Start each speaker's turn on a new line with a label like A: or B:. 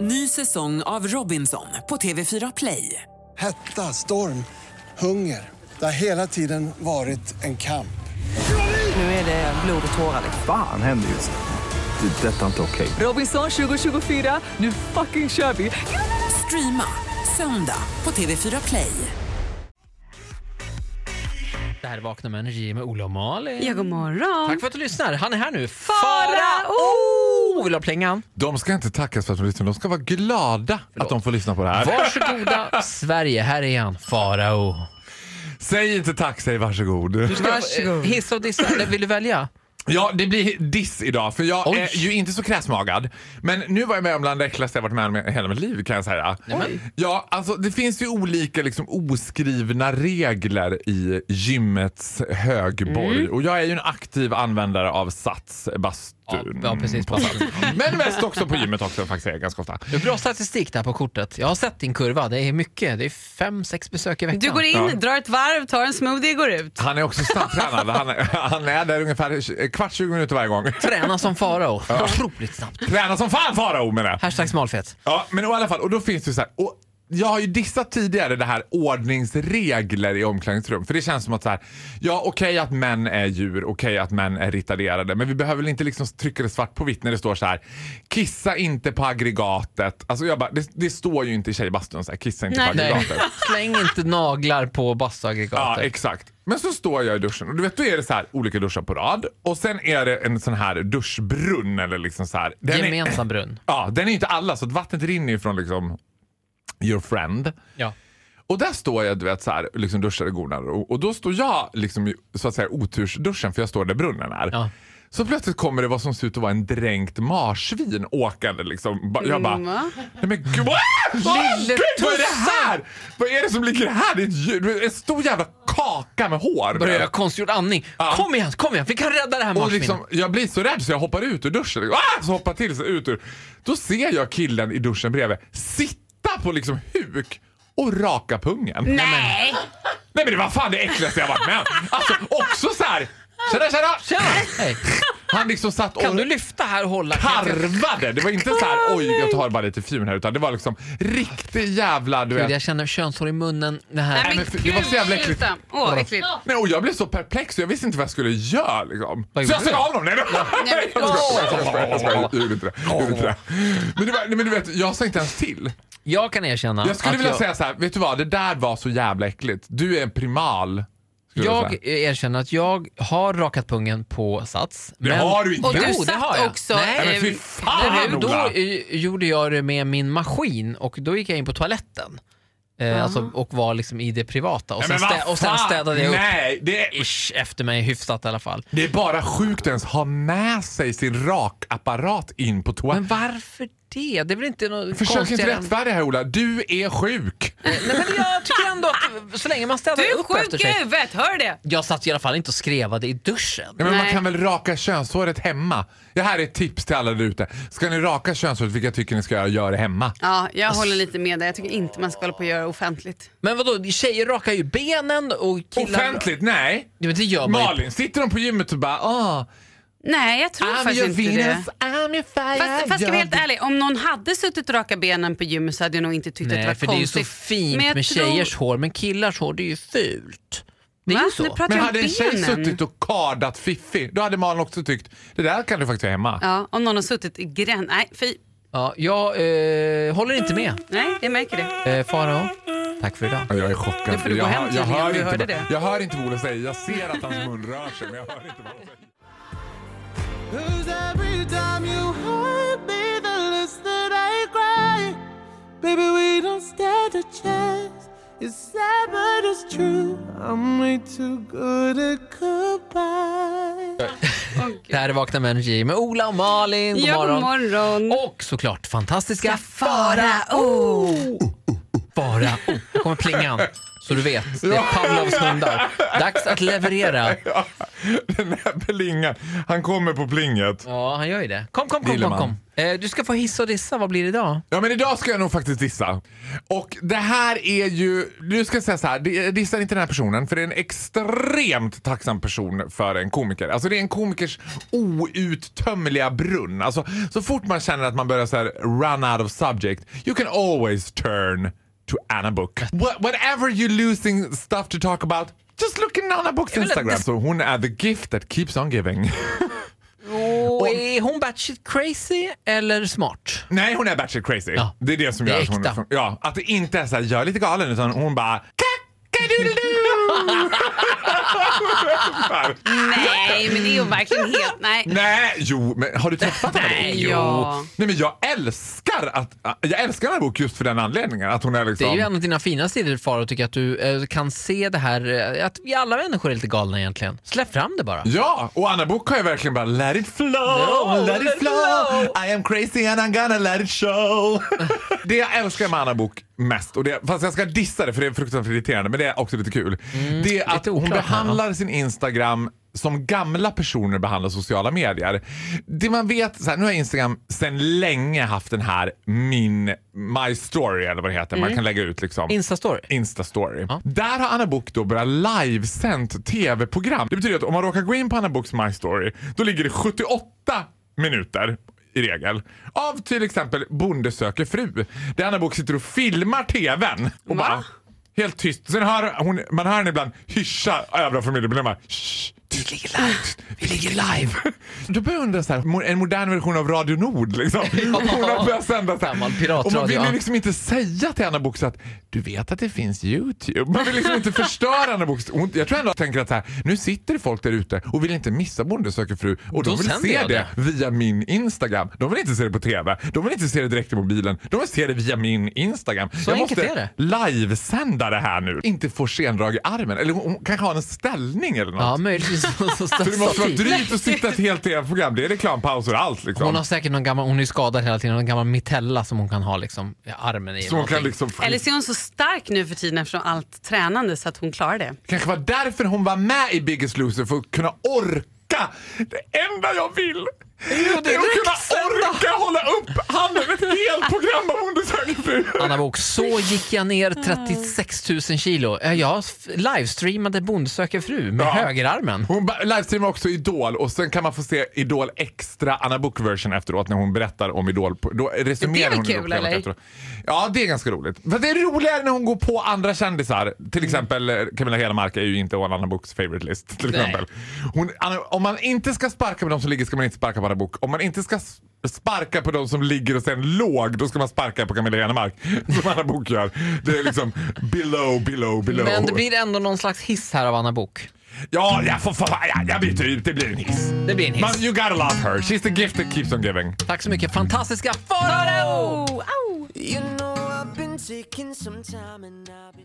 A: Ny säsong av Robinson på TV4 Play.
B: Hetta, storm, hunger. Det har hela tiden varit en kamp.
A: Nu är det blod och tårar.
C: Fan händer just nu. Det. är Detta är inte okej.
A: Robinson 2024, nu fucking kör vi! Streama söndag på TV4 Play.
D: Det här är Vakna med energi med Ola och Malin.
E: Ja, god morgon.
D: Tack för att du lyssnar. Han är här nu. Oh,
E: Farao!
D: Vill du ha plingan?
F: De ska inte tackas för att de lyssnar, de ska vara glada att de får lyssna på det här.
D: Varsågoda Sverige, här är han. Farao.
F: Säg inte tack, säg varsågod.
D: Varsågod. Eh, Hissa och dissa, eller vill du välja?
F: Ja, det blir diss idag för jag
D: Oj.
F: är ju inte så kräsmagad. Men nu var jag med om bland det äckligaste jag varit med om i hela mitt liv kan jag säga. Ja, alltså det finns ju olika liksom, oskrivna regler i gymmets högborg.
D: Mm.
F: Och jag är ju en aktiv användare av Sats
D: Ja,
F: bastun.
D: ja precis. På sats.
F: Men mest också på gymmet också faktiskt, är jag ganska ofta.
D: Du har bra statistik där på kortet. Jag har sett din kurva. Det är mycket. Det är fem, sex besök i veckan.
E: Du går in,
F: Ja.
E: drar ett varv, tar en smoothie och går ut.
F: Han är också snabbtränad. Han, är- han är där ungefär kvart 20 minuter varje gång.
D: Träna som Farao. Otroligt snabbt.
F: Träna som fan Farao menar jag.
D: Hashtag smalfet.
F: Ja, men i alla fall, och då finns det så här, och jag har ju dissat tidigare det här ordningsregler i omklädningsrum. För det känns som att så här, ja okej att män är djur, okej att män är retarderade. Men vi behöver väl inte liksom trycka det svart på vitt när det står så här, kissa inte på aggregatet. Alltså jag bara, det, det står ju inte i tjejbastun så här, kissa inte på
E: Nej.
D: Nej.
F: aggregatet.
D: Släng inte naglar på
F: Ja,
D: bastuaggregatet.
F: exakt. Men så står jag i duschen och du vet, då är det så här olika duschar på rad och sen är det en sån här duschbrunn eller liksom så här. Den är,
D: Gemensam brunn.
F: ja, den är inte alla så att vattnet rinner ju från liksom your friend.
D: Ja.
F: Och där står jag du vet, så här, liksom duschar och gonar och, och då står jag liksom, i, så att säga otursduschen för jag står där brunnen är.
D: Ja.
F: Så plötsligt kommer det vad som ser ut att vara en dränkt marsvin åkande. Liksom. Ba- Jag bara,
E: Mm, va?
F: nej men gud, vad, Åh,
D: Lille
F: gud, vad är det här? Vad är det som ligger här? Det är ett djur, en stor jävla kaka med hår.
D: Börjar jag konstgjord andning.
F: Ja.
D: Kom igen, kom igen. Vi kan rädda det här
F: Och
D: marsvinet.
F: liksom, jag blir så rädd så jag hoppar ut ur duschen. Ah! Så hoppar jag till så ut ur. Då ser jag killen i duschen bredvid sitta på liksom huk och raka pungen.
E: Nej!
F: Nej men det var fan det äckligaste jag varit med om. Alltså också så här. Tjena tjena!
D: Tjena! Hej.
F: Han liksom satt och
D: Kan du lyfta här och hålla?
F: karvade. Det var inte så här oj jag tar bara lite fjun här utan det var liksom riktig jävla du
D: Gud,
F: vet.
D: jag känner könshår i munnen. Det här.
E: Nej, men
F: men för- det var så jävla
E: gud,
F: äckligt.
E: sluta. Åh, äckligt.
F: Nej, och jag blev så perplex så jag visste inte vad jag skulle göra liksom. Så
D: Vad
F: jag
D: gjorde
F: såg
D: du?
F: av dem. Nej, men-
E: Nej, men-
F: Jag skojar, jag skojar, jag gjorde inte det. Jag gjorde inte det. Men, det var, nej, men du vet, jag sa inte ens till.
D: Jag kan erkänna
F: Jag skulle
D: att
F: vilja
D: jag,
F: säga så här, vet du vad? Det där var så jävla äckligt. Du är en primal. skulle jag
D: jag
F: säga.
D: erkänner att jag har rakat pungen på Sats.
F: Det har du inte.
E: Och du
D: Jo, det
E: satt
D: har jag.
E: också,
D: Nej,
F: Nej, men fy
E: eh,
F: fan
D: Nej, men
F: Ola!
D: då eh, gjorde jag det med min maskin och då gick jag in på toaletten. Eh, alltså, och var liksom i det privata. Och
F: Nej,
D: sen,
F: men vad
D: stä- och sen
F: fan!
D: städade jag upp
F: Nej, det är,
D: ish, efter mig hyfsat i alla fall.
F: det är bara sjukt att ens ha med sig sin rakapparat in på
D: Men
F: toaletten.
D: varför det? Det är väl inte något
F: Försök inte
D: konstigare än-
F: rättfärdiga här Ola, du är sjuk.
D: Nej, men jag tycker ändå att så länge man städar
E: Du är
D: upp efter
E: sjuk i
D: sig.
E: huvudet, hör du det?
D: Jag satt i alla fall inte och skrevade i duschen.
F: Ja, men man
E: Nej.
F: kan väl raka könshåret hemma? Det här är ett tips till alla där ute. Ska ni raka könshåret, vilka tycker ni ska göra, gör det hemma.
E: Ja, jag håller lite med dig. Jag tycker inte man ska hålla på och göra offentligt.
D: Men vadå, tjejer rakar ju benen och killar...
F: Offentligt, nej.
D: Ja, men det gör man ju.
F: Malin, sitter de på gymmet och bara ah,
E: Nej, jag tror
F: I'm your
E: faktiskt inte det.
F: Venus, I'm your fire.
E: Fast, fast ska vi
F: jag
E: vara helt ärlig, om någon hade suttit och rakat benen på gymmet så hade jag nog inte tyckt
D: Nej,
E: att det
D: för
E: var
D: det är ju
E: konstigt.
D: så fint
E: Men jag
D: med tjejers hår, men killars hår det är ju fult. Det är
E: Va?
D: ju
E: Nu
D: så.
E: pratar
F: Men
E: jag om
F: hade en tjej
E: benen.
F: suttit och kardat Fiffi, då hade Malin också tyckt det där kan du faktiskt göra hemma.
E: Ja, om någon har suttit i gränd... Nej, fy.
D: Ja, jag eh, håller inte med.
E: Nej, jag märker det.
D: Eh, Farao, tack för idag.
F: Ja, Jag är chockad.
E: Nu får du gå
F: jag,
E: hem
F: hör- jag,
E: tydligen,
F: hör
E: du
F: inte,
E: hörde
F: vad-
E: det.
F: jag hör inte vad Ola säger. Jag ser att hans mun rör sig, men jag hör inte vad han säger.
D: Det här är Vakna med Energy med Ola och Malin. God
E: Ja, god
D: morgon.
E: morgon.
D: Och såklart fantastiska Farao! Farao. Här kommer plingan. Så du vet, det är Pavlovs hundar. Dags att leverera.
F: Den här plingan. Han kommer på plinget.
D: Ja, han gör ju det. Kom, kom, kom, kom.
F: Gillar
D: kom. Eh, du ska få hissa och dissa. Vad blir det idag?
F: Ja men idag ska jag nog faktiskt dissa. Och det här är ju, du ska säga så här, di- dissa inte den här personen för det är en extremt tacksam person för en komiker. Alltså det är en komikers outtömliga brunn. Alltså så fort man känner att man börjar så här run out of subject, you can always turn to Anna Book. Wh- whenever you're losing stuff to talk about, just look in Anna Books
D: Jag vill att
F: Instagram.
D: det-
F: Så hon är the gift that keeps on giving.
D: Och är hon batshit crazy eller smart?
F: Nej, hon är batshit crazy.
D: Ja.
F: Det är det som
D: Det är
F: gör att hon... liksom-
D: äkta.
F: Ja, att det inte är såhär, jag är lite galen, utan hon bara... "Kackadoodledoo!"
E: Nej, men det är ju verkligen helt... Nej.
F: Nej, jo, men har du träffat henne?
D: Nej,
F: då?
D: jo.
E: Ja.
F: Nej, men jag älskar att... Jag älskar den här boken just för den anledningen. Att hon är
D: Det
F: liksom...
D: är ju en av dina fina sidor Faro, tycker jag, att du eh, kan se det här, eh, att vi alla människor är lite galna egentligen. Släpp fram det bara.
F: Ja, och Anna Book har ju verkligen bara let it flow,
D: No,
F: let it flow, I am crazy and I'm gonna let it show. det jag älskar med Anna Book mest, och det, fast jag ska dissa det för det är fruktansvärt irriterande, men det är också lite kul. det är att hon
D: oklart här,
F: behandlar sin Instagram som gamla personer behandlar sociala medier. Det man vet, så här, nu har Instagram sedan länge haft den här min, my story eller vad det heter. Man kan lägga ut liksom.
D: Instastory.
F: Instastory. Där har Anna Bok då börjat livesänt tv-program. Det betyder att om man råkar gå in på Anna Boks My Story, då ligger det 78 minuter i regel. Av till exempel Bonde söker fru. Där Anna Bok sitter och filmar tvn och
E: Va?
F: bara helt tyst. Sen hör hon, man hör henne ibland hyscha övriga familjemedlemmar. Shh, tyst, ligger live. Vi ligger live. Då börjar jag undra så här, mo- en modern version av Radio Nord liksom. Hon har börjat sända så
D: Gammal
F: här.
D: piratradio,
F: Och man vill
D: ja.
F: ju liksom inte säga till Anna Book att du vet att det finns Youtube. Man vill liksom inte förstöra Anna Book. Hon- Jag tror ändå att hon tänker att så här, nu sitter det folk där ute och vill inte missa Bonde söker fru och
D: Då
F: de vill
D: sänder
F: se
D: jag
F: det via min Instagram. De vill inte se det på TV. De vill inte se det direkt i mobilen. De vill se det via min Instagram.
D: Så
F: jag
D: enkelt
F: måste
D: är det.
F: livesända det här nu. Inte få skendrag i armen. Eller hon hon kanske har en ställning eller något.
D: Ja, möjligtvis. Så, så, så,
F: För det måste vara drygt att sitta i ett helt tv-program. Det är reklampauser och allt. Liksom.
D: hon har säkert någon gammal, hon är ju skadad hela tiden, någon gammal mitella som hon kan ha liksom, i armen i.
F: så hon kan
D: någonting.
F: liksom...
E: Eller så är hon så stark nu för tiden eftersom allt tränande så att hon klarar det.
F: kanske var därför hon var med i Biggest Loser, för att kunna orka. Det enda jag vill
D: det
F: är att kunna
D: direktsända.
F: orka hålla upp handen ett helt program av undersökningsfru.
D: Anna Bok, så gick jag ner 36 000 kilo. Eh, Jag f- livestreamade Bonde söker fru med
F: Ja.
D: högerarmen.
F: Hon ba- livestreamar också Idol och sen kan man få se Idol extra Anna Book version efteråt när hon berättar om Idol. på- Då
E: Det är
F: resumerar
E: väl
F: hon
E: kul,
F: Idolprogrammet
E: eller?
F: efteråt. Ja, det är ganska roligt. För det är roligare när hon går på andra kändisar.
E: Mm.
F: Till exempel eh, Camilla Hedemark är ju inte on Anna Books favorite list. Till
D: Nej.
F: exempel. Hon, Anna, om man inte ska sparka på de som ligger ska man inte sparka på Anna Book. Om man inte ska s- sparka på de som ligger och sen låg, då ska man sparka på Camilla Hedemark. Som Anna Book gör. Det är liksom below, below, below.
D: Men det blir ändå någon slags hiss här av Anna Bok.
F: Ja, jag, får, får, jag, jag byter ut. Det blir en hiss.
D: Det blir en hiss.
F: Man, you gotta love her. She's the gift that keeps on giving.
D: Tack så mycket, fantastiska Farao!
E: Oh, au.
G: You know I've been taking some time and I've been